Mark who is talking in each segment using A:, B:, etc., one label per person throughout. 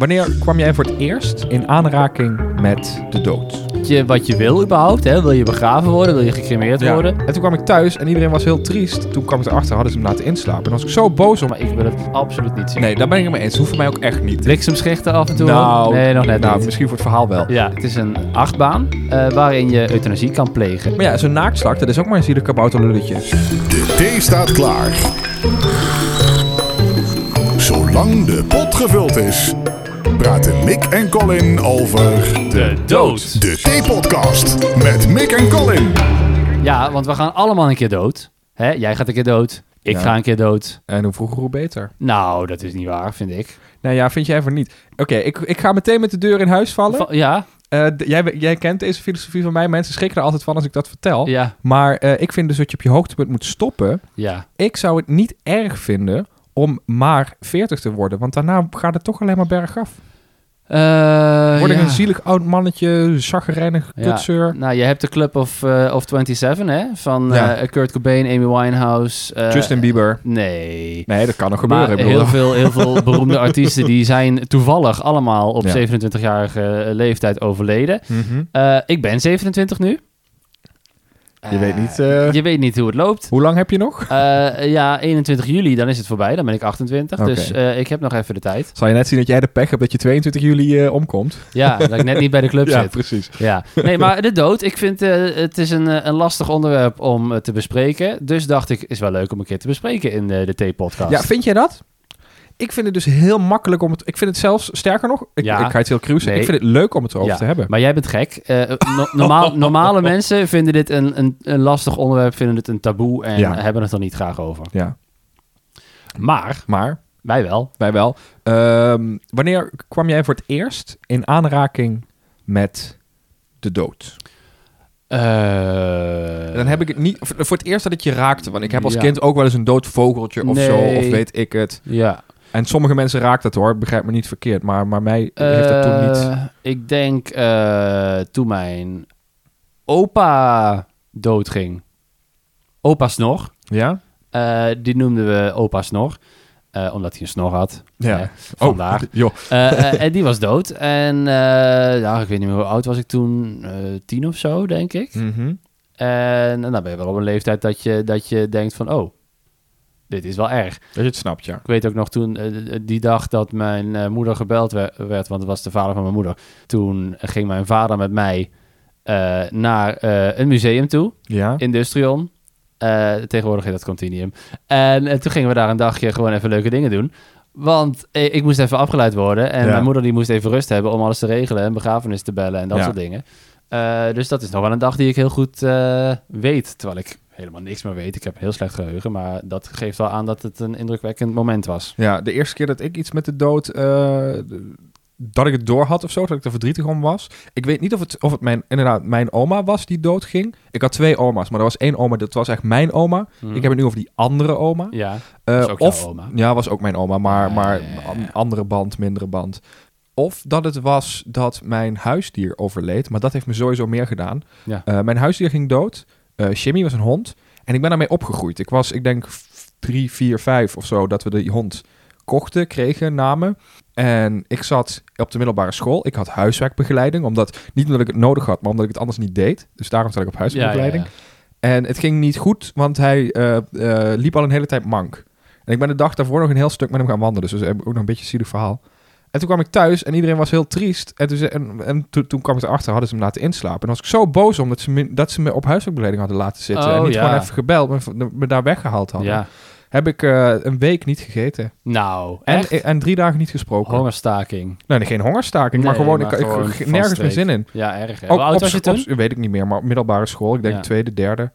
A: Wanneer kwam jij voor het eerst in aanraking met de dood?
B: Je, wat je wil überhaupt, hè? Wil je begraven worden? Wil je gecremeerd worden?
A: En toen kwam ik thuis en iedereen was heel triest. Toen kwam ik erachter, hadden ze hem laten inslapen. En was ik zo boos om.
B: Maar ik wil het absoluut niet zien.
A: Nee, daar ben ik het mee eens. Hoeft voor mij ook echt niet.
B: Bliksemschichten af en toe?
A: Nou,
B: nee, nog net
A: nou,
B: niet.
A: misschien voor het verhaal wel.
B: Ja, het is een achtbaan eh, waarin je euthanasie kan plegen.
A: Maar ja, zo'n naaktslak, dat is ook maar een zielig kabouterlulletje.
C: De thee staat klaar. Zolang de pot gevuld is, praten Mick en Colin over
B: De dood!
C: de Theepodcast met Mick en Colin.
B: Ja, want we gaan allemaal een keer dood. Hè? Jij gaat een keer dood. Ik
A: Ja.
B: ga een keer dood.
A: En hoe vroeger, hoe beter.
B: Nou, dat is niet waar, vind ik.
A: Nou ja, vind jij van niet. Oké, ik, ik ga meteen met de deur in huis vallen.
B: Va- ja,
A: Eh, d- jij, jij kent deze filosofie van mij. Mensen schrikken er altijd van als ik dat vertel.
B: ja,
A: Maar eh, ik vind dus dat je op je hoogtepunt moet stoppen.
B: ja.
A: Ik zou het niet erg vinden om maar 40 te worden. Want daarna gaat het toch alleen maar bergaf.
B: Eh,
A: Word ik
B: ja.
A: een zielig oud mannetje, chagrijnig
B: Ja.
A: kutseur.
B: Nou, je hebt de Club of, eh, of 27, hè? Van
A: Ja.
B: eh, Kurt Cobain, Amy Winehouse. eh,
A: Justin Bieber.
B: Nee.
A: Nee, dat kan nog gebeuren.
B: Maar
A: ik bedoel.
B: heel veel, heel veel beroemde artiesten die zijn toevallig allemaal op
A: Ja.
B: 27-jarige leeftijd overleden.
A: Mhm.
B: Eh, ik ben 27 nu.
A: Je weet niet... eh,
B: Je weet niet hoe het loopt.
A: Hoe lang heb je nog?
B: Eh, ja, 21 juli, dan is het voorbij. Dan ben ik 28.
A: Oké.
B: Dus eh, ik heb nog even de tijd.
A: Zal je net zien dat jij de pech hebt dat je 22 juli eh, omkomt?
B: Ja, dat ik net niet bij de club zit.
A: precies.
B: Ja, nee, maar de dood. Ik vind eh, het is een, eh, een lastig onderwerp om eh, te bespreken. Dus dacht ik, is wel leuk om een keer te bespreken in eh, de T-podcast.
A: Ja, vind jij dat? Ik vind het dus heel makkelijk om het... Ik vind het zelfs, sterker nog, ik,
B: Ja.
A: ik ga het heel cruisen.
B: Nee.
A: Ik vind het leuk om het erover
B: Ja,
A: te hebben.
B: Maar jij bent gek. Eh, no- normaal, normale mensen vinden dit een, een, een lastig onderwerp, vinden het een taboe en
A: Ja.
B: hebben het er niet graag over.
A: Ja,
B: Maar
A: maar
B: wij wel.
A: wij wel. Ehm, wanneer kwam jij voor het eerst in aanraking met de dood? En Eh, dan heb ik het niet... Voor voor het eerst dat het je raakte. Want ik heb als
B: Ja.
A: kind ook wel eens een dood vogeltje of zo.
B: Nee.
A: Of weet ik het.
B: Ja.
A: En sommige mensen raakt dat hoor. Begrijp me niet verkeerd. Maar, maar mij heeft dat toen niet...
B: Eh, Ik denk eh, toen mijn opa doodging. Opa Snor.
A: Ja?
B: Eh, die noemden we opa Snor. eh, omdat hij een snor had.
A: Ja.
B: Eh, vandaar.
A: Oh, joh.
B: Eh, eh, en die was dood. En eh, ja, ik weet niet meer hoe oud was ik toen. eh, tien of zo, denk ik.
A: Mhm.
B: En, en dan ben je wel op een leeftijd dat je, dat je denkt van... oh, dit is wel erg.
A: Dat je het snapt, ja.
B: Ik weet ook nog toen, eh, die dag dat mijn eh, moeder gebeld we- werd... want het was de vader van mijn moeder... toen ging mijn vader met mij eh, naar eh, een museum toe.
A: Ja?
B: Industrion. Eh, tegenwoordig heet dat Continuum. En eh, toen gingen we daar een dagje gewoon even leuke dingen doen. Want eh, ik moest even afgeleid worden. En
A: Ja.
B: mijn moeder die moest even rust hebben om alles te regelen. En begrafenis te bellen en dat
A: Ja.
B: soort dingen. Eh, dus dat is nog wel een dag die ik heel goed eh, weet. Terwijl ik helemaal niks meer weet. Ik heb een heel slecht geheugen. Maar dat geeft wel aan dat het een indrukwekkend moment was.
A: Ja, de eerste keer dat ik iets met de dood. eh, de- dat ik het door had of zo, dat ik er verdrietig om was. Ik weet niet of het, of het mijn, inderdaad mijn oma was die doodging. Ik had twee oma's, maar er was één oma, dat was echt mijn oma.
B: Mhm.
A: Ik heb het nu over die andere oma.
B: Hm. Ja,
A: Eh,
B: is ook jouw
A: of,
B: oma.
A: Ja, was ook mijn oma, maar,
B: Ja,
A: maar
B: ja, ja,
A: een andere band, mindere band. Of dat het was dat mijn huisdier overleed, maar dat heeft me sowieso meer gedaan.
B: Ja.
A: Eh, mijn huisdier ging dood. Eh Jimmy was een hond. En ik ben daarmee opgegroeid. Ik was, ik denk, f- drie, vier, vijf of zo dat we die hond kochten, kregen, namen. En ik zat op de middelbare school. Ik had huiswerkbegeleiding, omdat, niet omdat ik het nodig had, maar omdat ik het anders niet deed. Dus daarom zat ik op
B: ja, ja,
A: huiswerkbegeleiding.
B: ja.
A: En het ging niet goed, want hij eh, eh, liep al een hele tijd mank. En ik ben de dag daarvoor nog een heel stuk met hem gaan wandelen. Dus dat is ook nog een beetje een zielig verhaal. En toen kwam ik thuis en iedereen was heel triest. En toen, ze- en, en toen- toen kwam ik erachter, hadden ze hem laten inslapen. En was ik zo boos om dat ze me, dat ze me op huiswerkbeleiding hadden laten zitten. en
B: Oh,
A: niet
B: ja.
A: gewoon even gebeld, maar v- me daar weggehaald hadden.
B: Ja.
A: Heb ik eh, een week niet gegeten.
B: Nou,
A: En, eh,
B: echt?
A: en drie dagen niet gesproken.
B: Hongerstaking.
A: Nee, geen hongerstaking, maar
B: Nee,
A: gewoon,
B: maar
A: ik, ik-
B: gewoon
A: ik-
B: van
A: nergens meer
B: streek.
A: zin in.
B: Ja, erg. hè?
A: Ook
B: Hoe oud
A: op
B: was je
A: scho-
B: toen?
A: op- weet ik niet meer, maar op middelbare school. Ik denk
B: Ja.
A: tweede, derde.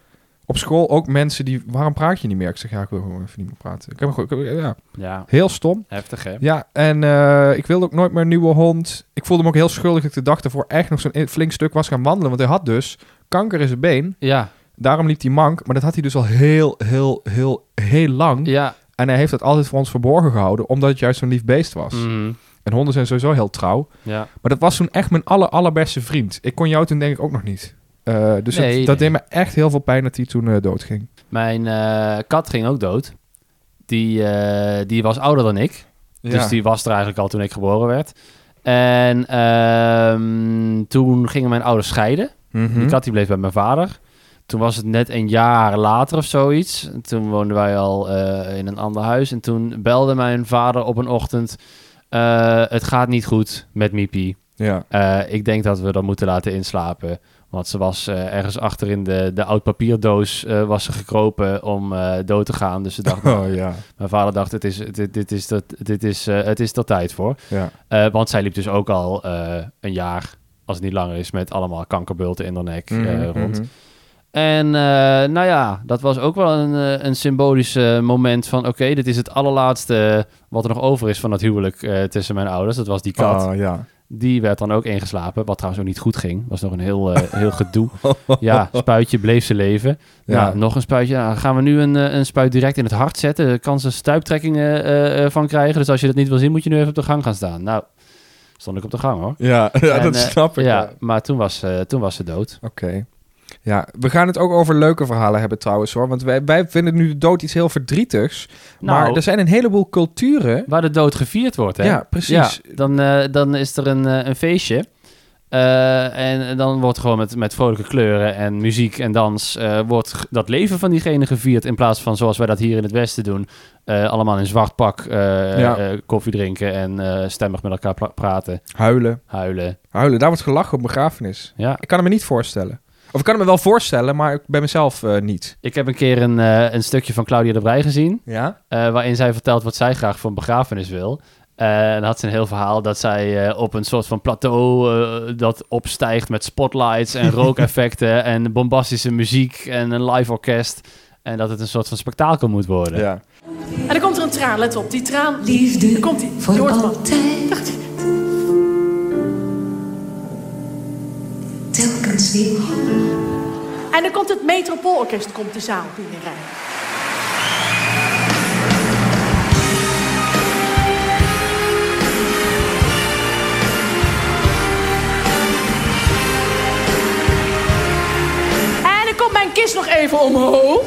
A: Op school ook mensen die... Waarom praat je niet meer? Ik zeg, ja, ik wil gewoon even niet meer praten. Ik heb, gewoon- ik heb- ja,
B: Ja,
A: heel stom.
B: heftig hè?
A: Ja, en eh, ik wilde ook nooit meer een nieuwe hond. Ik voelde me ook heel schuldig dat ik de dag daarvoor echt nog zo'n flink stuk was gaan wandelen. Want hij had dus kanker in zijn been.
B: Ja,
A: Daarom liep hij mank. Maar dat had hij dus al heel, heel, heel, heel lang.
B: ja.
A: En hij heeft dat altijd voor ons verborgen gehouden. Omdat het juist zo'n lief beest was.
B: Mhm.
A: En honden zijn sowieso heel trouw.
B: Ja.
A: Maar dat was toen echt mijn aller, allerbeste vriend. Ik kon jou toen denk ik ook nog niet. Eh, dus
B: Nee,
A: het- dat
B: nee.
A: deed me echt heel veel pijn dat hij toen eh, doodging.
B: Mijn eh, kat ging ook dood. Die, eh, die was ouder dan ik. Dus die was er eigenlijk al toen ik geboren werd. En ehm, toen gingen mijn ouders scheiden.
A: Mhm.
B: Die kat die bleef bij mijn vader. Toen was het net een jaar later of zoiets. En Toen woonden wij al eh, in een ander huis. En toen belde mijn vader op een ochtend... eh, het gaat niet goed met Miepie.
A: Ja.
B: Eh, ik denk dat we dat moeten laten inslapen. Want ze was eh, ergens achter in de, de oud papierdoos eh, was ze gekropen om eh, dood te gaan. Dus ze dacht,
A: Oh ja.
B: mijn vader dacht, het is, dit, dit is, dat, dit is, eh, het is er tijd voor.
A: Ja.
B: Eh, want zij liep dus ook al eh, een jaar, als het niet langer is, met allemaal kankerbulten in haar nek eh,
A: Mhm,
B: rond. En eh, nou ja, dat was ook wel een, eh, een symbolisch eh, moment van... oké, dit is het allerlaatste wat er nog over is van het huwelijk eh, tussen mijn ouders. Dat was die kat.
A: Oh ja.
B: Die werd dan ook ingeslapen, wat trouwens ook niet goed ging. was nog een heel, eh, heel gedoe. Ja, spuitje bleef ze leven. Ja.
A: Ja.
B: nog een spuitje. Nou, gaan we nu een, eh, een spuit direct in het hart zetten. Er kan ze stuiptrekkingen eh, eh, van krijgen. Dus als je dat niet wil zien, moet je nu even op de gang gaan staan. Nou, stond ik op de gang hoor.
A: Ja, ja
B: En,
A: dat
B: eh,
A: snap ik.
B: Ja,
A: Oké.
B: maar toen was, eh, toen was ze dood.
A: Ja, we gaan het ook over leuke verhalen hebben trouwens hoor. Want wij, wij vinden nu de dood iets heel verdrietigs.
B: Nou,
A: maar er zijn een heleboel culturen.
B: waar de dood gevierd wordt, hè?
A: Ja, precies.
B: Ja, dan, eh, dan is er een, eh, een feestje. Eh, en dan wordt gewoon met, met vrolijke kleuren en muziek en dans... eh, wordt g- dat leven van diegene gevierd... in plaats van zoals wij dat hier in het Westen doen... eh, allemaal in zwart pak eh,
A: Ja.
B: eh, koffie drinken... en eh, stemmig met elkaar pra- praten,
A: Huilen.
B: huilen.
A: Huilen. Daar wordt gelachen op begrafenis.
B: Ja.
A: Ik kan het me niet voorstellen. Of ik kan het me wel voorstellen, maar ik- bij mezelf eh, niet.
B: Ik heb een keer een, eh, een stukje van Claudia de Brij gezien...
A: Ja?
B: Eh, waarin zij vertelt wat zij graag voor een begrafenis wil. Eh, en had ze een heel verhaal dat zij eh, op een soort van plateau eh, dat opstijgt met spotlights en rookeffecten en bombastische muziek en een live orkest. En dat het een soort van spektakel moet worden.
A: Ja.
D: En dan komt er een traan, let op, die traan.
E: Liefde
D: Daar komt die.
E: voor
D: Noordman.
E: altijd. Telkens weer.
D: En dan komt het Metropoolorkest komt de zaal binnenrijden. En dan komt mijn kist nog even omhoog.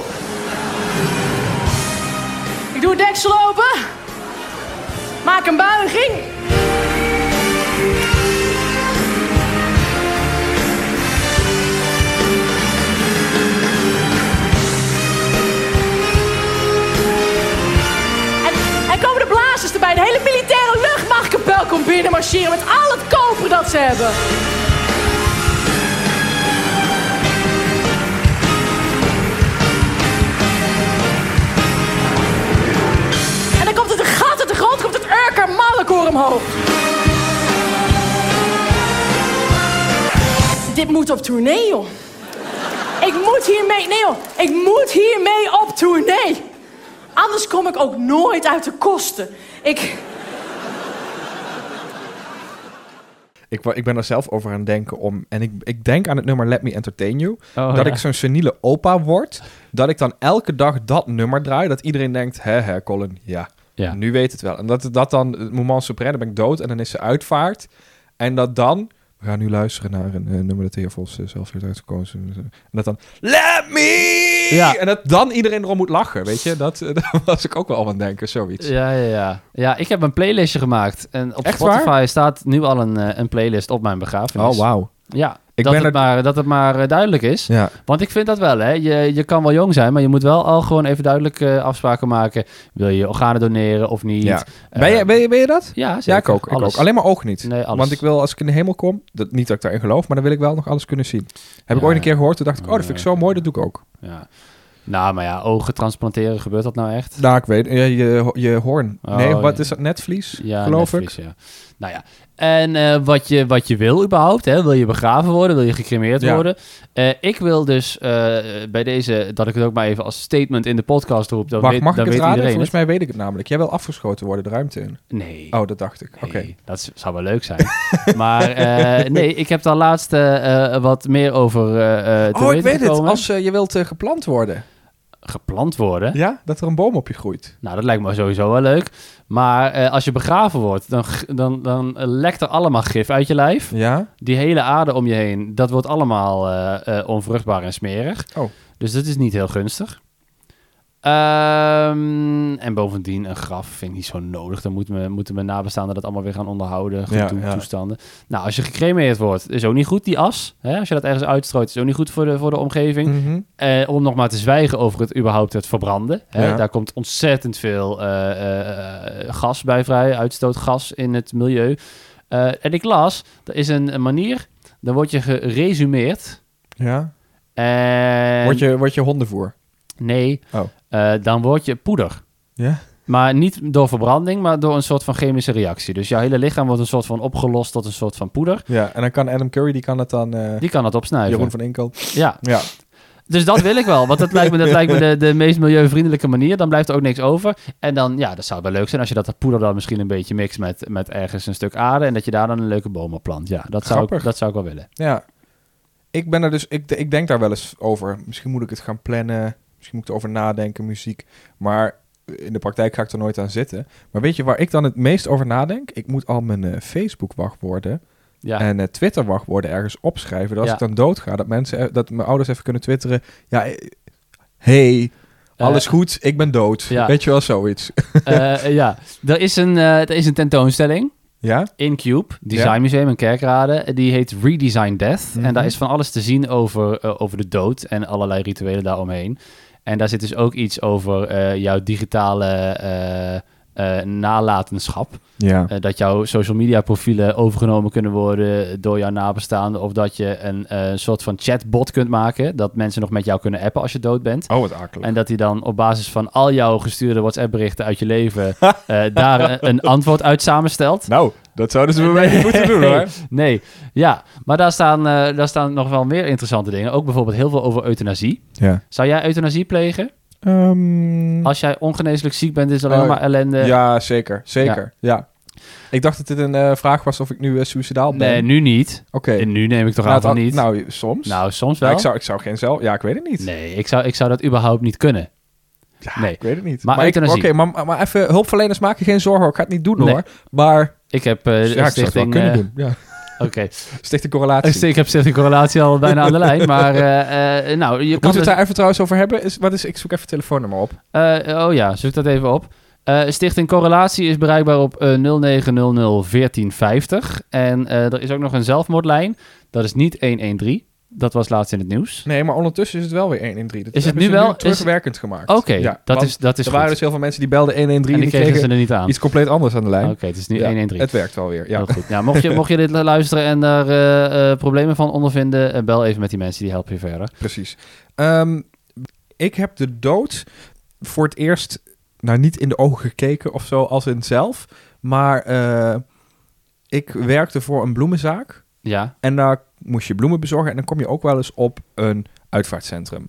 D: Ik doe het deksel open. Maak een buiging. En, en komen de blazers erbij. De hele militaire luchtmachtkapel komt binnen marcheren met al het koper dat ze hebben. En dan komt het een gat uit de grond, komt het Urker Mallekoor omhoog. Dit moet op tournee, joh. Ik moet hiermee, nee joh, ik moet hiermee op tournee. Anders kom ik ook nooit uit de kosten. Ik,
A: Ik, wa- ik ben er zelf over aan het denken om... En ik, ik denk aan het nummer Let Me Entertain You.
B: Oh,
A: dat
B: ja.
A: ik zo'n seniele opa word. Dat ik dan elke dag dat nummer draai. Dat iedereen denkt, hè hè Colin, ja.
B: Ja.
A: Nu weet het wel. En dat, dat dan, het moment suprême, dan ben ik dood en dan is ze uitvaart. En dat dan, we gaan nu luisteren naar een eh, nummer dat de heer Vos eh, zelf heeft uitgekozen. En dat dan, let me!
B: Ja.
A: En dat dan iedereen erom moet lachen, weet je. Dat, eh, daar was ik ook wel aan het denken, zoiets.
B: Ja, ja, ja. Ja, ik heb een playlistje gemaakt. En op
A: Echt waar?
B: Spotify staat nu al een, eh, een playlist op mijn begrafenis.
A: Oh, wauw.
B: Ja,
A: Ik
B: dat,
A: ben
B: het
A: er-
B: maar, dat het maar eh, duidelijk is.
A: Ja.
B: Want ik vind dat wel, hè. Je, je kan wel jong zijn, maar je moet wel al gewoon even duidelijk eh, afspraken maken. Wil je je organen doneren of niet?
A: ja.
B: Eh,
A: ben, je, ben, je, ben je dat?
B: ja, zeker.
A: Ja, ik ook. Ik
B: Alles.
A: ook. Alleen maar oog niet.
B: Nee, alles.
A: Want ik wil, als ik in de hemel kom, dat, niet dat ik daarin geloof, maar dan wil ik wel nog alles kunnen zien. Heb ik
B: Ja.
A: ooit een keer gehoord, toen dacht ik, oh, dat vind ik zo mooi, dat doe ik ook.
B: Ja. Nou, maar ja, ogen transplanteren, gebeurt dat nou echt?
A: Nou, ik weet, je, je, je hoorn.
B: Oh,
A: nee, wat
B: ja.
A: is dat, netvlies,
B: Ja,
A: geloof ik?
B: netvlies, Ja. Nou ja, en eh, wat, je, wat je wil überhaupt, hè? wil je begraven worden, wil je gecremeerd
A: Ja.
B: worden. Eh, ik wil dus eh, bij deze, dat ik het ook maar even als statement in de podcast roep, dan
A: Wacht,
B: weet,
A: mag
B: dan
A: ik het
B: weet
A: raden?
B: iedereen
A: Volgens mij weet ik het namelijk. Jij wil afgeschoten worden de ruimte in.
B: het. Nee.
A: Oh, dat dacht ik. Oké.
B: Nee, Dat is- zou wel leuk zijn. maar eh, nee, ik heb daar laatst eh, eh, wat meer over eh eh,
A: Oh,
B: te
A: ik
B: weten
A: weet het.
B: gekomen.
A: Als eh, je wilt eh, geplant worden.
B: Geplant worden?
A: Ja? Dat er een boom op je groeit.
B: Nou, dat lijkt me sowieso wel leuk. Maar eh, als je begraven wordt, dan, g- dan, dan lekt er allemaal gif uit je lijf.
A: Ja?
B: Die hele aarde om je heen, dat wordt allemaal eh, eh, onvruchtbaar en smerig.
A: Oh.
B: Dus dat is niet heel gunstig. Ehm, en bovendien, een graf vind ik niet zo nodig. Dan moeten we, moeten mijn nabestaanden dat allemaal weer gaan onderhouden. Goed
A: Ja,
B: toe-
A: ja.
B: toestanden. Nou, als je gecremeerd wordt, is ook niet goed, die as. Hè? Als je dat ergens uitstrooit, is ook niet goed voor de, voor de omgeving.
A: Mhm.
B: Eh, om nog maar te zwijgen over het überhaupt het verbranden. Hè?
A: Ja.
B: Daar komt ontzettend veel eh, eh, eh, gas bij vrij, uitstootgas in het milieu. Eh, en ik las, er is een, een manier, dan word je geresumeerd.
A: Ja.
B: En...
A: Word, je, word je hondenvoer?
B: Nee,
A: Oh.
B: eh, dan word je poeder.
A: Ja?
B: Maar niet door verbranding, maar door een soort van chemische reactie. Dus jouw hele lichaam wordt een soort van opgelost tot een soort van poeder.
A: Ja, en dan kan Adam Curry, die kan het dan... eh,
B: Die kan dat opsnuiven.
A: Jeroen van Inkel.
B: Ja,
A: Ja.
B: dus dat wil ik wel. Want dat lijkt me, dat lijkt me de, de meest milieuvriendelijke manier. Dan blijft er ook niks over. En dan, ja, dat zou wel leuk zijn als je dat poeder dan misschien een beetje mixt met, met ergens een stuk aarde. En dat je daar dan een leuke boom op plant. Ja, dat zou, ik,
A: Grappig.
B: dat zou ik wel willen.
A: Ja. Ik ben er dus, ik, ik denk daar wel eens over. Misschien moet ik het gaan plannen. Misschien moet ik erover nadenken, muziek. Maar in de praktijk ga ik er nooit aan zitten. Maar weet je waar ik dan het meest over nadenk? Ik moet al mijn eh, Facebook-wachtwoorden
B: Ja,
A: en eh, Twitter-wachtwoorden ergens opschrijven. Dat als
B: Ja.
A: ik dan doodga, dat, mensen, eh, dat mijn ouders even kunnen twitteren. Ja, eh, hey,
B: Eh,
A: alles goed, ik ben dood.
B: ja.
A: Weet je wel, zoiets.
B: eh, ja. Er, is een, eh, er is een tentoonstelling.
A: ja?
B: in Cube, Design
A: Ja.
B: Museum in Kerkrade. Die heet Redesign Death.
A: Mhm.
B: En daar is van alles te zien over, eh, over de dood en allerlei rituelen daaromheen. En daar zit dus ook iets over eh, jouw digitale eh, eh, nalatenschap.
A: Ja.
B: Eh, dat jouw social media profielen overgenomen kunnen worden door jouw nabestaanden. Of dat je een eh, soort van chatbot kunt maken. Dat mensen nog met jou kunnen appen als je dood bent.
A: Oh, wat akelig.
B: En dat hij dan op basis van al jouw gestuurde WhatsApp-berichten uit je leven eh, daar een, een antwoord uit samenstelt.
A: Nou, dat zouden ze bij mij niet moeten doen, hoor.
B: Eh, Nee, ja. Maar daar staan, eh, daar staan nog wel meer interessante dingen. Ook bijvoorbeeld heel veel over euthanasie.
A: Ja.
B: Zou jij euthanasie plegen?
A: Ehm,
B: Als jij ongeneeslijk ziek bent, is het alleen
A: Eh,
B: maar ellende.
A: Ja, zeker. Zeker. Ja. Ik dacht dat dit een eh, vraag was of ik nu eh, suicidaal ben.
B: nee, nu niet.
A: Oké.
B: En nu neem ik toch
A: Nou,
B: aan van
A: het-
B: niet. Nou,
A: Nou, soms.
B: soms
A: Ja,
B: wel.
A: ik, zou, ik zou geen zelf... Ja, ik weet het niet.
B: Nee, ik zou, ik zou dat überhaupt niet kunnen.
A: Ja,
B: nee.
A: Ik weet het niet.
B: Maar
A: ik- Oké,
B: euthanasie.
A: maar, maar even... Hulpverleners maken je geen zorgen hoor. Ik ga het niet doen
B: Nee.
A: hoor. Maar
B: Ik heb eh,
A: ja, ik zou het wel
B: stichting...
A: kunnen
B: eh,
A: doen. Ja.
B: Oké.
A: Stichting correlatie.
B: Eh, ik heb stichting correlatie al bijna aan de lijn. Maar eh, eh, nou, je
A: Moeten
B: kan
A: we
B: dus-
A: het daar even trouwens over hebben? Is, wat is, ik zoek even het telefoonnummer op.
B: Eh, oh ja, zoek dat even op. Eh, Stichting Correlatie is bereikbaar op eh 0900 1450. En eh, er is ook nog een zelfmoordlijn. Dat is niet 113. Dat was laatst in het nieuws.
A: Nee, maar ondertussen is het wel weer 1 in 3. Dat
B: Is het
A: hebben
B: nu
A: ze
B: wel- is-
A: terugwerkend gemaakt.
B: Oké,
A: Ja,
B: dat,
A: want
B: is, dat is
A: Er
B: goed.
A: waren dus heel veel mensen die belden 1 in 3
B: en die kregen ze er niet aan.
A: iets compleet anders aan de lijn.
B: Oké, het is nu
A: Ja,
B: 113.
A: Het werkt wel weer. Ja.
B: Heel goed. Nou, mocht, je, mocht je dit luisteren en daar eh, eh, problemen van ondervinden, eh, bel even met die mensen, die helpen je verder.
A: Precies. Ehm, ik heb de dood voor het eerst, nou niet in de ogen gekeken of zo, als in zelf. Maar eh, ik werkte voor een bloemenzaak.
B: Ja,
A: En daar moest je bloemen bezorgen. En dan kom je ook wel eens op een uitvaartcentrum.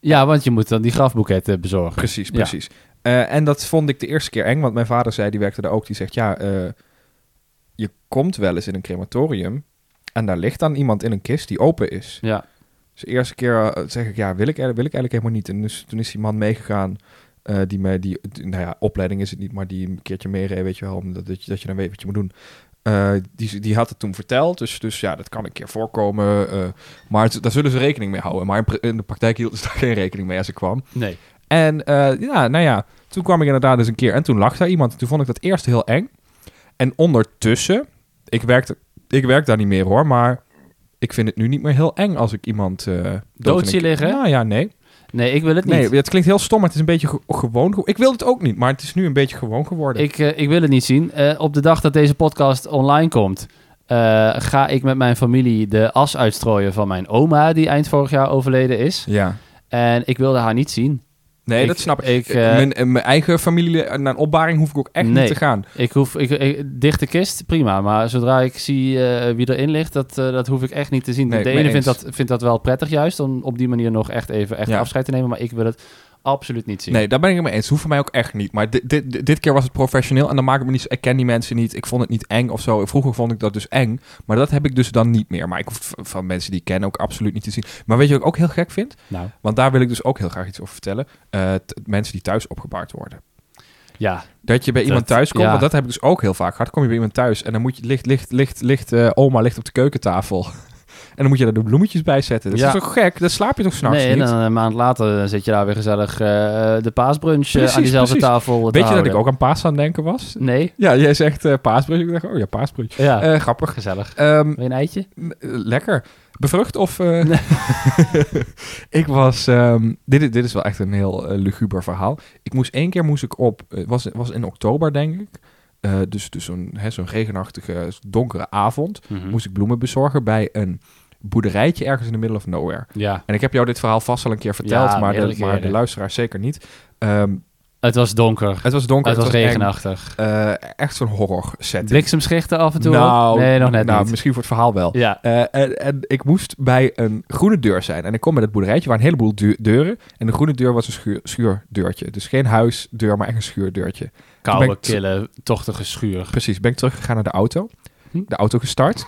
B: ja want je moet dan die grafboeketten bezorgen.
A: Precies,
B: Ja.
A: precies. Eh, en dat vond ik de eerste keer eng. Want mijn vader zei, die werkte daar ook, die zegt... Ja, eh, je komt wel eens in een crematorium. En daar ligt dan iemand in een kist die open is.
B: Ja,
A: Dus de eerste keer eh, zeg ik, ja, wil ik, wil ik eigenlijk helemaal niet. En dus, toen is die man meegegaan, eh, die mij, die, die- nou ja, opleiding is het niet, maar die een keertje meereed, weet je wel, omdat dat je, dat je dan weet wat je moet doen. Eh, die, die had het toen verteld, dus, dus ja, dat kan een keer voorkomen. eh, maar het- daar zullen ze rekening mee houden. Maar in, pra- in de praktijk hielden ze daar geen rekening mee als ik kwam.
B: nee.
A: En eh, ja, nou ja, toen kwam ik inderdaad eens een keer en toen lag daar iemand. En toen vond ik dat eerst heel eng. En ondertussen, ik, werkte, ik werk daar niet meer hoor, maar ik vind het nu niet meer heel eng als ik iemand eh, dood
B: Dood
A: in
B: zie
A: een-
B: liggen?
A: Nou ja, nee.
B: Nee, ik wil het niet.
A: Nee, het klinkt heel stom, maar het is een beetje ge- gewoon. ge- ik wilde het ook niet, maar het is nu een beetje gewoon geworden.
B: Ik, eh, ik wil het niet zien. Eh, op de dag dat deze podcast online komt, eh, ga ik met mijn familie de as uitstrooien van mijn oma, die eind vorig jaar overleden is.
A: ja.
B: En ik wilde haar niet zien.
A: Nee,
B: Ik-
A: dat snap ik.
B: ik, eh,
A: mijn, eh, mijn eigen familie, eh, naar een opbaring hoef ik ook echt
B: Nee.
A: niet te gaan.
B: Ik hoef, ik, ik- dichte kist, prima. Maar zodra ik zie eh, wie erin ligt, dat, eh, dat hoef ik echt niet te zien.
A: Nee,
B: de
A: mee
B: ene vindt
A: eens.
B: dat, vindt dat wel prettig juist, om op die manier nog echt even echt
A: Ja.
B: afscheid te nemen. Maar ik wil het absoluut niet zien.
A: Nee, daar ben ik het mee eens. Hoeft voor mij ook echt niet. Maar dit, dit, dit keer was het professioneel en dan maakt het me niet. zo- Ik ken die mensen niet. Ik vond het niet eng of zo. Vroeger vond ik dat dus eng. Maar dat heb ik dus dan niet meer. Maar ik hoef het v- van mensen die ik ken ook absoluut niet te zien. Maar weet je wat ik ook heel gek vind?
B: Nou,
A: Want daar wil ik dus ook heel graag iets over vertellen. Eh, t- mensen die thuis opgebaard worden.
B: ja.
A: Dat je bij
B: Dat-
A: iemand thuis komt,
B: ja.
A: want dat heb ik dus ook heel vaak gehad. Kom je bij iemand thuis en dan moet je licht, licht, licht, licht, eh, oma ligt op de keukentafel. dan moet je daar de bloemetjes bij zetten. Dat
B: Ja.
A: is toch gek? Dan slaap je toch s'nachts
B: Nee, nou, en
A: niet?
B: dan een maand later eh, zit je daar weer gezellig eh, de paasbrunch eh, aan
A: Precies,
B: diezelfde
A: precies.
B: tafel te
A: Weet je dat ik
B: houden.
A: ook aan paas aan het denken was?
B: Nee?
A: Ja, jij zegt eh paasbrunch. Ik dacht, oh ja, paasbrunch.
B: Ja,
A: Eh, grappig.
B: gezellig.
A: Ehm,
B: Wil je een eitje?
A: n- eh, lekker. Bevrucht of... eh,
B: Nee.
A: ik was... ehm, dit, is- dit is wel echt een heel eh, luguber verhaal. Ik moest één keer moest ik op... Het was, was in oktober, denk ik. Eh, dus dus zo'n hè, zo'n regenachtige, donkere avond.
B: Mhm.
A: Moest ik bloemen bezorgen bij een boerderijtje ergens in the middle of nowhere.
B: Ja.
A: En ik heb jou dit verhaal vast al een keer verteld,
B: Ja,
A: maar, de,
B: meerdere
A: maar de
B: keren.
A: luisteraar zeker niet. Ehm,
B: Het was donker.
A: het was donker,
B: het was
A: eng.
B: regenachtig.
A: Eh, echt zo'n horror setting.
B: Bliksemschichten af en toe?
A: Nou,
B: nee, nog net
A: nou,
B: niet.
A: misschien voor het verhaal wel.
B: Ja.
A: Eh, en, en ik moest bij een groene deur zijn. En ik kom bij het boerderijtje waar een heleboel du- deuren. En de groene deur was een schuur, schuurdeurtje. Dus geen huisdeur, maar echt een schuurdeurtje. Toen ben
B: Koude,
A: ik t-
B: kille, tochtige schuur.
A: Precies, ben ik teruggegaan naar de auto.
B: Hm.
A: De auto gestart.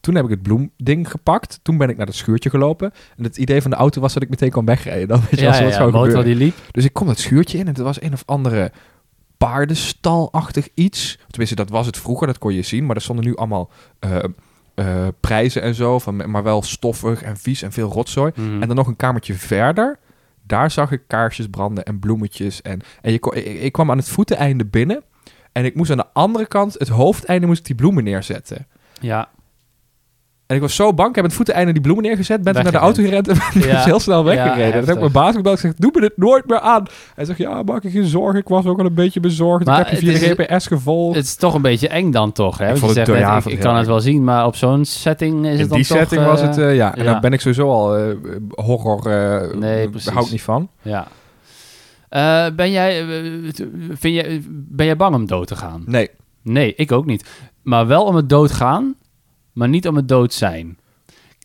A: Toen heb ik het bloemding gepakt. Toen ben ik naar dat schuurtje gelopen. En het idee van de auto was dat ik meteen kon wegrijden. Dan weet je
B: Ja,
A: wel
B: ja,
A: wat
B: ja,
A: zou
B: motor
A: gebeuren.
B: die liep.
A: Dus ik kom dat schuurtje in en het was een of andere paardenstalachtig iets. Tenminste, dat was het vroeger, dat kon je zien. Maar er stonden nu allemaal eh, eh, prijzen en zo, van, maar wel stoffig en vies en veel rotzooi.
B: Mhm.
A: En dan nog een kamertje verder, daar zag ik kaarsjes branden en bloemetjes. En, en je, ko- ik, ik kwam aan het voeteneinde binnen en ik moest aan de andere kant, het hoofdeinde, moest ik die bloemen neerzetten.
B: Ja,
A: En ik was zo bang, ik heb aan het voeteneinde die bloemen neergezet, ben toen naar de auto gerend
B: Weggerend.
A: en ben
B: Ja.
A: heel snel
B: Ja,
A: weggereden. dat heb ik
B: heftig.
A: mijn baas gebeld, ik zeg, doe me dit nooit meer aan. Hij zegt, ja, maak je geen zorgen, ik was ook wel een beetje bezorgd.
B: Maar
A: ik heb je
B: het
A: via
B: is-
A: GPS gevolgd.
B: het is toch een beetje eng dan toch, hè?
A: Ik
B: Want je
A: vond het
B: zegt net,
A: door- ja,
B: ik,
A: vond
B: ik
A: het
B: kan
A: heel
B: het wel zien, maar op zo'n setting is
A: In
B: het dan
A: die
B: toch...
A: setting was het,
B: eh,
A: eh, ja. En
B: ja.
A: daar ben ik sowieso al eh, horror, eh
B: Nee, precies.
A: hou ik niet van.
B: Ja. Eh, ben, jij, eh, t- vind jij, ben jij bang om dood te gaan?
A: Nee,
B: Nee, ik ook niet. Maar wel om het dood gaan, maar niet om het dood zijn.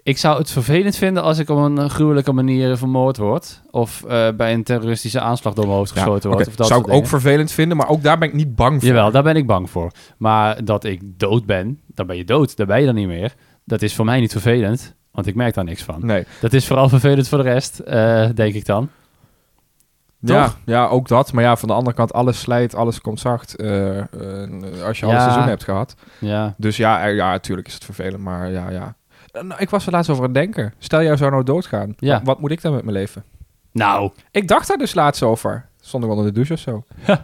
B: Ik zou het vervelend vinden als ik op een eh, gruwelijke manier vermoord word. Of eh, bij een terroristische aanslag door mijn hoofd
A: Ja,
B: geschoten
A: oké.
B: wordt. Of dat
A: zou ik
B: soort
A: ook
B: dingen.
A: vervelend vinden, maar ook daar ben ik niet bang voor.
B: Jawel, daar ben ik bang voor. Maar dat ik dood ben, dan ben je dood. Daar ben je dan niet meer. Dat is voor mij niet vervelend, want ik merk daar niks van.
A: Nee.
B: Dat is vooral vervelend voor de rest, eh, denk ik dan.
A: Ja, ja, ook dat. Maar ja, van de andere kant, alles slijt, alles komt zacht. eh, eh, als je al een
B: Ja.
A: seizoen hebt gehad.
B: Ja.
A: Dus ja, eh, ja, natuurlijk is het vervelend, maar ja, ja. Eh, nou, ik was er laatst over aan het denken. Stel, jij zou nou doodgaan.
B: Ja.
A: Wat, wat moet ik dan met mijn leven?
B: Nou,
A: Ik dacht daar dus laatst over. Stond ik onder de douche of zo.
B: nou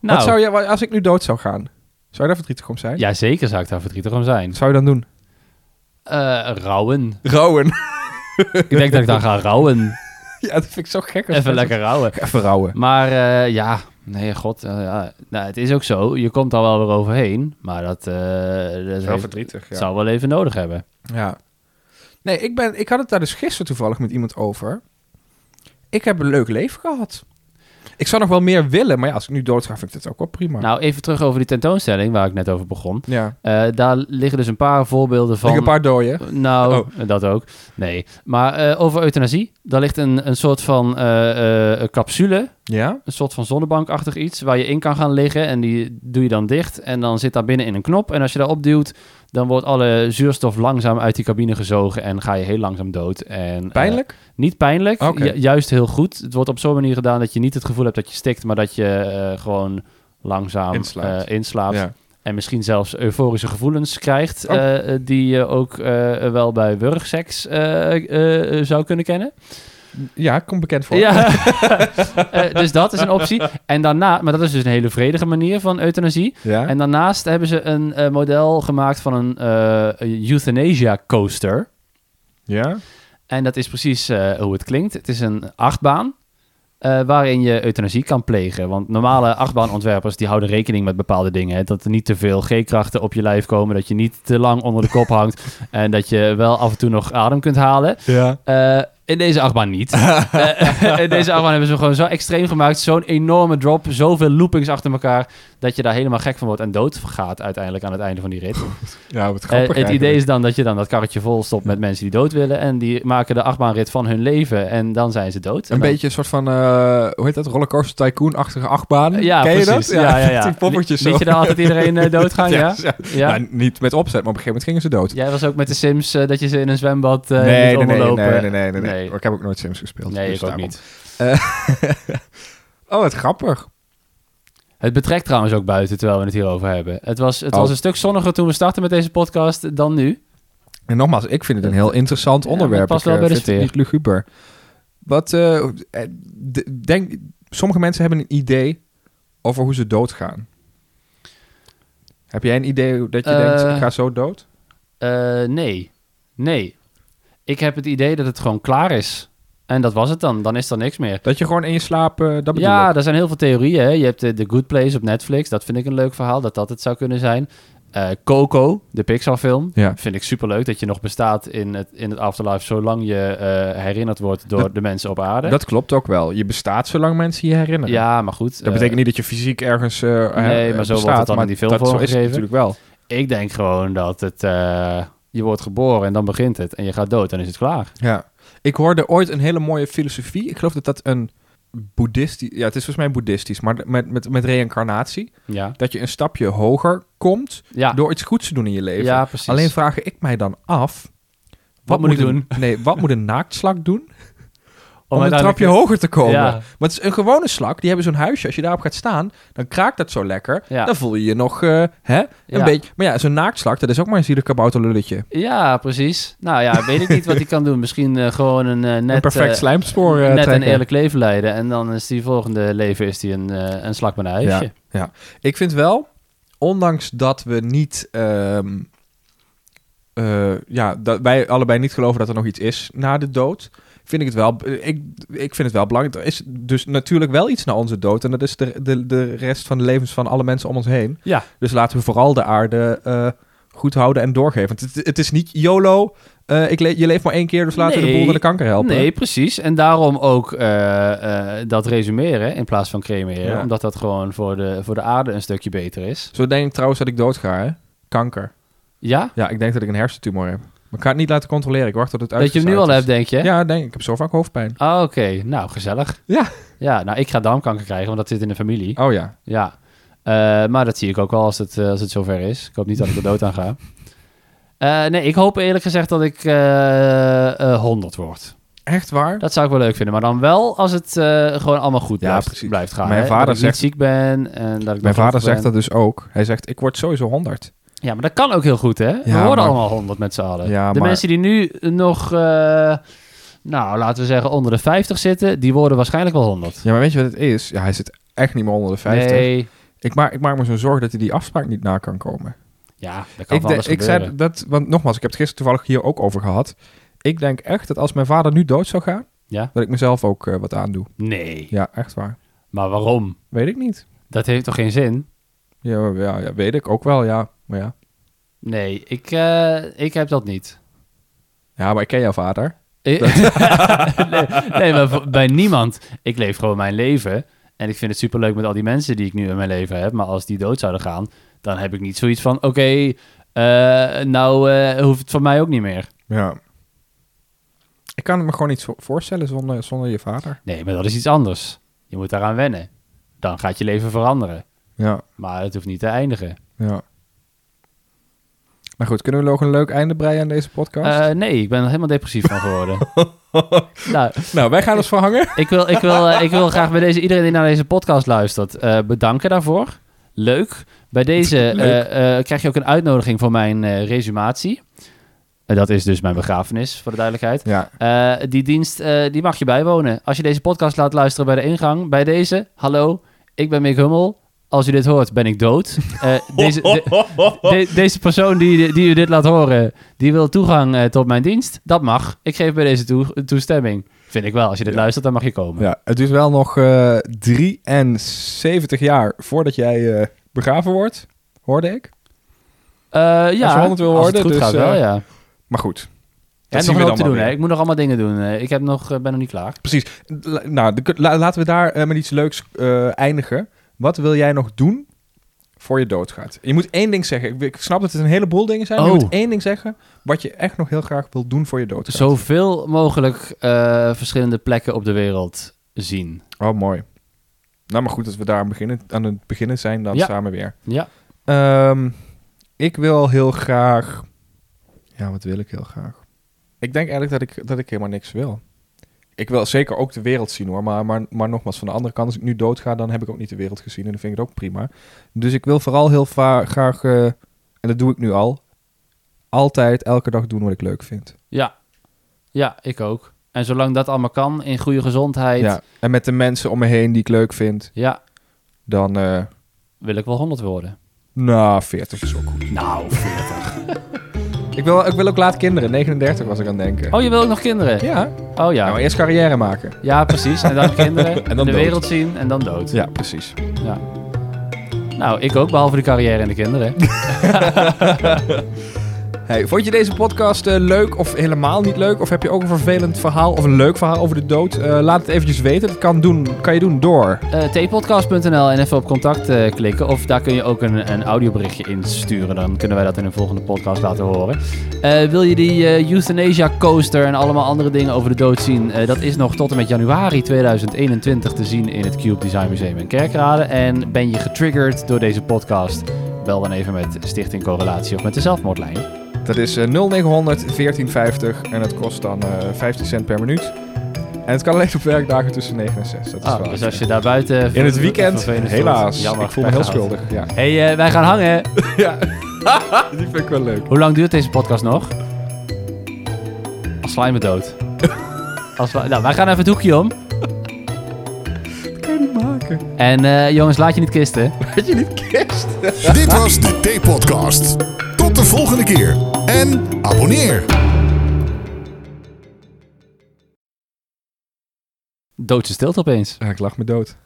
A: Wat zou je, wa- als ik nu dood zou gaan, zou je daar verdrietig om zijn?
B: ja, zeker zou ik daar verdrietig om zijn.
A: Wat zou je dan doen?
B: Eh rouwen.
A: Rouwen.
B: Ik denk dat ik dan ga rouwen.
A: ja, dat vind ik zo gek. als mensen-
B: Even lekker rouwen.
A: Even rouwen.
B: Maar eh, ja, nee, god. eh, ja. Nou, het is ook zo. Je komt al wel weer overheen. Maar dat, eh dat
A: Wel
B: heeft-
A: verdrietig, ja.
B: zou wel even nodig hebben.
A: Ja. Nee, ik, ben, ik had het daar dus gisteren toevallig met iemand over. Ik heb een leuk leven gehad. Ik zou nog wel meer willen, maar ja, als ik nu doodga, vind ik dat ook wel prima.
B: Nou, even terug over die tentoonstelling waar ik net over begon.
A: ja.
B: Eh, daar liggen dus een paar voorbeelden van...
A: Van... een paar Oh. dooien.
B: Nou, dat ook. Nee. Maar eh, over euthanasie. Daar ligt een, een soort van eh, eh, capsule
A: Ja?
B: een soort van zonnebankachtig iets waar je in kan gaan liggen en die doe je dan dicht en dan zit daar binnen in een knop en als je daar opduwt dan wordt alle zuurstof langzaam uit die cabine gezogen en ga je heel langzaam dood. En, eh,
A: Pijnlijk?
B: niet pijnlijk,
A: Oké.
B: ju- juist heel goed. Het wordt op zo'n manier gedaan dat je niet het gevoel hebt dat je stikt, maar dat je eh, gewoon langzaam
A: Inslaapt.
B: eh, inslaapt.
A: ja.
B: En misschien zelfs euforische gevoelens krijgt,
A: Oh.
B: eh, eh, die je ook eh, wel bij wurgseks eh, eh, eh, zou kunnen kennen.
A: Ja, komt bekend voor.
B: Ja. Eh, dus dat is een optie. En daarna, maar dat is dus een hele vredige manier van euthanasie.
A: Ja?
B: En daarnaast hebben ze een eh, model gemaakt van een eh, euthanasia coaster.
A: ja?
B: En dat is precies eh, hoe het klinkt. Het is een achtbaan. eh, waarin je euthanasie kan plegen. Want normale achtbaanontwerpers die houden rekening met bepaalde dingen. Hè? Dat er niet te veel G-krachten op je lijf komen. Dat je niet te lang onder de kop hangt. en dat je wel af en toe nog adem kunt halen.
A: Ja.
B: Eh, in deze achtbaan niet. Eh, in deze achtbaan hebben ze hem gewoon zo extreem gemaakt. Zo'n enorme drop. Zoveel loopings achter elkaar. Dat je daar helemaal gek van wordt en dood gaat uiteindelijk aan het einde van die rit.
A: Ja, wat
B: Eh,
A: grappig
B: het idee
A: eigenlijk.
B: is dan dat je dan dat karretje vol stopt met mensen die dood willen. En die maken de achtbaanrit van hun leven. En dan zijn ze dood. En
A: Een
B: dan-
A: beetje een soort van, eh, hoe heet dat, rollercoaster tycoon-achtige achtbaan.
B: Eh, Ja,
A: Ken je
B: precies.
A: dat?
B: Ja, ja, ja.
A: Die poppetjes
B: Liet
A: zo.
B: je daar altijd iedereen eh, doodgaan? ja.
A: Ja,
B: Ja.
A: ja. Nou, niet met opzet, maar op een gegeven moment gingen ze dood.
B: Jij was ook met de Sims eh, dat je ze in een zwembad
A: nee,
B: eh
A: nee,
B: liet
A: nee, nee,
B: omlopen.
A: nee, nee, nee, nee.
B: Nee.
A: Ik heb ook nooit Sims gespeeld.
B: Nee,
A: dus
B: ik ook
A: daarom.
B: niet.
A: Oh, wat grappig.
B: Het betrekt trouwens ook buiten, terwijl we het hierover hebben. Het was, het
A: Oh.
B: was een stuk zonniger toen we startten met deze podcast dan nu.
A: En nogmaals, ik vind het een heel interessant
B: Ja,
A: onderwerp.
B: het past
A: Ik,
B: wel
A: eh,
B: bij de
A: vind het
B: sfeer.
A: Niet luguber. Wat, eh, eh, d- denk, sommige mensen hebben een idee over hoe ze doodgaan. Heb jij een idee dat je
B: Eh,
A: denkt, ik ga zo dood?
B: Eh, nee. Nee. Ik heb het idee dat het gewoon klaar is. En dat was het dan. Dan is er niks meer.
A: Dat je gewoon in je slaap, eh, dat bedoel
B: Ja,
A: ik.
B: er zijn heel veel theorieën. Hè. Je hebt eh, The Good Place op Netflix. Dat vind ik een leuk verhaal, dat dat het zou kunnen zijn. Eh, Coco, de Pixar-film.
A: Ja.
B: Vind ik superleuk dat je nog bestaat in het, in het afterlife... zolang je eh, herinnerd wordt door
A: Dat-
B: de mensen op aarde.
A: Dat klopt ook wel. Je bestaat zolang mensen je herinneren.
B: ja, maar goed. eh,
A: Dat betekent niet dat je fysiek ergens eh, eh,
B: nee, maar zo wordt het
A: bestaat,
B: dan in
A: maar
B: die film
A: dat zo is het
B: voorgegeven.
A: natuurlijk wel.
B: Ik denk gewoon dat het... eh, je wordt geboren en dan begint het. En je gaat dood en is het klaar.
A: Ja. Ik hoorde ooit een hele mooie filosofie. Ik geloof dat dat een boeddhistisch... Ja, het is volgens mij boeddhistisch, maar met, met, met reïncarnatie.
B: Ja,
A: dat je een stapje hoger komt
B: ja.
A: door iets goeds te doen in je leven.
B: ja precies.
A: Alleen vraag ik mij dan af...
B: moet ik
A: een- Nee, wat moet een naaktslak doen om, een
B: uiteindelijk-
A: trapje hoger te komen?
B: Ja.
A: Want het is een gewone slak, die hebben zo'n huisje. Als je daarop gaat staan, dan kraakt dat zo lekker.
B: Ja.
A: Dan voel je je nog eh, hè, een
B: Ja.
A: beetje... Maar ja, zo'n naaktslak, dat is ook maar een zielig kabouterlulletje.
B: Ja, precies. Nou ja, weet ik niet wat hij kan doen. Misschien eh, gewoon een eh, net...
A: Een perfect
B: eh,
A: slijmspoor eh,
B: net een
A: trekken.
B: eerlijk leven leiden. En dan is die volgende leven is die een, eh, een slak met een huisje.
A: Ja, ja. Ik vind wel, ondanks dat we niet. ehm, eh, ja, dat wij allebei niet geloven dat er nog iets is na de dood. Vind ik het wel. Ik, ik vind het wel belangrijk. Er is dus natuurlijk wel iets na onze dood. En dat is de, de, de rest van de levens van alle mensen om ons heen.
B: Ja.
A: Dus laten we vooral de aarde eh, goed houden en doorgeven. Want het, het is niet YOLO. eh, ik le- je leeft maar één keer, dus laten we de
B: Nee.
A: boel naar de kanker helpen.
B: Nee, precies. En daarom ook eh, eh, dat resumeren in plaats van cremeren.
A: Ja.
B: Omdat dat gewoon voor de, voor de aarde een stukje beter is.
A: Zo denk ik trouwens dat ik dood ga, hè? Kanker.
B: Ja?
A: Ja, ik denk dat ik een hersentumor heb. Maar ik ga het niet laten controleren. Ik wacht tot het uit
B: Dat je hem nu al hebt, denk je?
A: Ja, denk ik. Ik heb zo vaak hoofdpijn.
B: Ah, Oké, nou gezellig.
A: Ja.
B: Ja, nou ik ga darmkanker krijgen, want dat zit in de familie.
A: Oh ja.
B: Ja. Eh, maar dat zie ik ook wel als het, eh, als het zover is. Ik hoop niet dat ik er dood aan ga. Eh, nee, ik hoop eerlijk gezegd dat ik eh, eh, 100 word.
A: Echt waar?
B: Dat zou ik wel leuk vinden. Maar dan wel als het eh, gewoon allemaal goed
A: Ja,
B: blijft,
A: precies.
B: blijft gaan.
A: Mijn
B: hè?
A: vader
B: dat ik
A: zegt-
B: niet ziek ben. En dat ik
A: Mijn vader
B: begraven
A: zegt
B: ben.
A: dat dus ook. Hij zegt, ik word sowieso 100.
B: Ja, maar dat kan ook heel goed, hè? We
A: Ja,
B: worden
A: maar-
B: allemaal honderd met z'n allen.
A: Ja,
B: de
A: maar-
B: mensen die nu nog, eh, nou, laten we zeggen onder de 50 zitten... die worden waarschijnlijk wel 100.
A: Ja, maar weet je wat het is? Ja, hij zit echt niet meer onder de 50.
B: Nee.
A: Ik, maak, ik maak me zo'n zorg dat hij die afspraak niet na kan komen.
B: Ja, dat kan
A: Ik,
B: van
A: denk-
B: alles
A: ik
B: gebeuren.
A: zei dat, want nogmaals, ik heb het gisteren toevallig hier ook over gehad. Ik denk echt dat als mijn vader nu dood zou gaan,
B: Ja?
A: dat ik mezelf ook eh, wat aandoe.
B: Nee.
A: Ja, echt waar.
B: Maar waarom?
A: Weet ik niet.
B: Dat heeft toch geen zin?
A: Ja, ja, ja weet ik ook wel, ja. Maar ja.
B: Nee, ik, eh, ik heb dat niet.
A: Ja, maar ik ken jouw vader.
B: nee, nee, maar voor- bij niemand. Ik leef gewoon mijn leven. En ik vind het superleuk met al die mensen die ik nu in mijn leven heb. Maar als die dood zouden gaan, dan heb ik niet zoiets van... Oké, eh, nou eh, hoeft het van mij ook niet meer.
A: Ja. Ik kan het me gewoon niet zo- voorstellen zonder, zonder je vader.
B: Nee, maar dat is iets anders. Je moet daaraan wennen. Dan gaat je leven veranderen.
A: Ja,
B: Maar het hoeft niet te eindigen.
A: ja. Maar goed, kunnen we nog een leuk einde breien aan deze podcast?
B: Eh, nee, ik ben er helemaal depressief van geworden. nou,
A: nou, wij gaan ons verhangen.
B: Ik wil, ik wil, eh, ik wil graag bij deze, iedereen die naar deze podcast luistert, eh, bedanken daarvoor. Leuk. Bij deze
A: Leuk.
B: eh, eh, krijg je ook een uitnodiging voor mijn eh, resumatie. En dat is dus mijn begrafenis, voor de duidelijkheid.
A: Ja,
B: Eh, die dienst, eh, die mag je bijwonen. Als je deze podcast laat luisteren bij de ingang, bij deze, hallo, ik ben Mick Hummel. Als u dit hoort, ben ik dood. Eh, deze, de- de- deze persoon die, die u dit laat horen, die wil toegang eh, tot mijn dienst. Dat mag. Ik geef bij deze toe- toestemming. Vind ik wel. Als je dit
A: Ja.
B: luistert, dan mag je komen.
A: ja, het is wel nog eh 73 jaar voordat jij eh, begraven wordt, hoorde ik.
B: Eh, ja,
A: Als je 100 wil
B: als het
A: worden,
B: goed
A: dus,
B: gaat
A: eh,
B: wel, ja.
A: Maar goed,
B: Ik heb
A: zien
B: nog
A: we
B: een
A: dan
B: hoop te
A: wel
B: doen, hè.
A: weer.
B: Ik moet nog allemaal dingen doen. eh. Ik heb nog, eh, ben nog niet klaar.
A: precies. La- nou, de- la- laten we daar eh, met iets leuks eh, eindigen. Wat wil jij nog doen voor je doodgaat? Je moet één ding zeggen. Ik, ik snap dat het een heleboel dingen zijn. maar
B: Oh.
A: Je moet één ding zeggen wat je echt nog heel graag wil doen voor je doodgaat.
B: Zoveel mogelijk eh, verschillende plekken op de wereld zien.
A: Oh, mooi. Nou, maar goed dat we daar aan, beginnen, aan het beginnen zijn dan
B: Ja.
A: samen weer.
B: Ja.
A: Ehm, ik wil heel graag... Ja, wat wil ik heel graag? Ik denk eigenlijk dat ik, dat ik helemaal niks wil. Ik wil zeker ook de wereld zien hoor. Maar, maar, maar nogmaals, van de andere kant, als ik nu doodga, dan heb ik ook niet de wereld gezien. En dan vind ik het ook prima. Dus ik wil vooral heel va- graag, eh, en dat doe ik nu al, altijd elke dag doen wat ik leuk vind.
B: Ja. Ja, ik ook. En zolang dat allemaal kan, in goede gezondheid, ja,
A: Ja. En met de mensen om me heen die ik leuk vind, dan... eh
B: wil ik wel 100 worden.
A: nou, 40 is ook goed.
B: Nou,
A: Ik wil, ik wil ook laat kinderen. 39 was ik aan het denken.
B: Oh, je wil ook nog kinderen?
A: Ja.
B: Oh ja.
A: Nou, eerst carrière maken.
B: Ja, precies. En dan kinderen,
A: En dan
B: de
A: dood.
B: wereld zien en dan dood.
A: Ja, precies.
B: Ja. Nou, ik ook, behalve de carrière en de kinderen.
A: Hey, vond je deze podcast eh, leuk of helemaal niet leuk? Of heb je ook een vervelend verhaal of een leuk verhaal over de dood? Eh, laat het eventjes weten. Dat kan, doen, kan je doen door.
B: Eh tpodcast.nl en even op contact eh, klikken. Of daar kun je ook een, een audioberichtje insturen. Dan kunnen wij dat in een volgende podcast laten horen. Eh, wil je die eh, euthanasia coaster en allemaal andere dingen over de dood zien? Eh, dat is nog tot en met januari 2021 te zien in het Cube Design Museum in Kerkrade. En ben je getriggerd door deze podcast? Bel dan even met Stichting Correlatie of met de zelfmoordlijn.
A: Dat is eh, 0900 1450 en het kost dan eh 15 cent per minuut. En het kan alleen op werkdagen tussen 9 en 6. Dat is
B: Ah,
A: wel
B: dus als je daar buiten...
A: In het weekend,
B: vervelend
A: helaas.
B: wordt, jammer,
A: ik voel me heel
B: pech gehad.
A: schuldig. Ja,
B: hey, eh, wij gaan hangen.
A: ja. die vind ik wel leuk.
B: Hoe lang duurt deze podcast nog? Als slime dood. Als we- nou, wij gaan even het hoekje om.
A: Dat kan je niet maken.
B: En eh, jongens, laat je niet kisten.
A: Dat je niet kerst.
C: Dit was de T-podcast. Tot de volgende keer en abonneer.
B: Doodse stilte opeens.
A: Ja, Ah, ik lach me dood.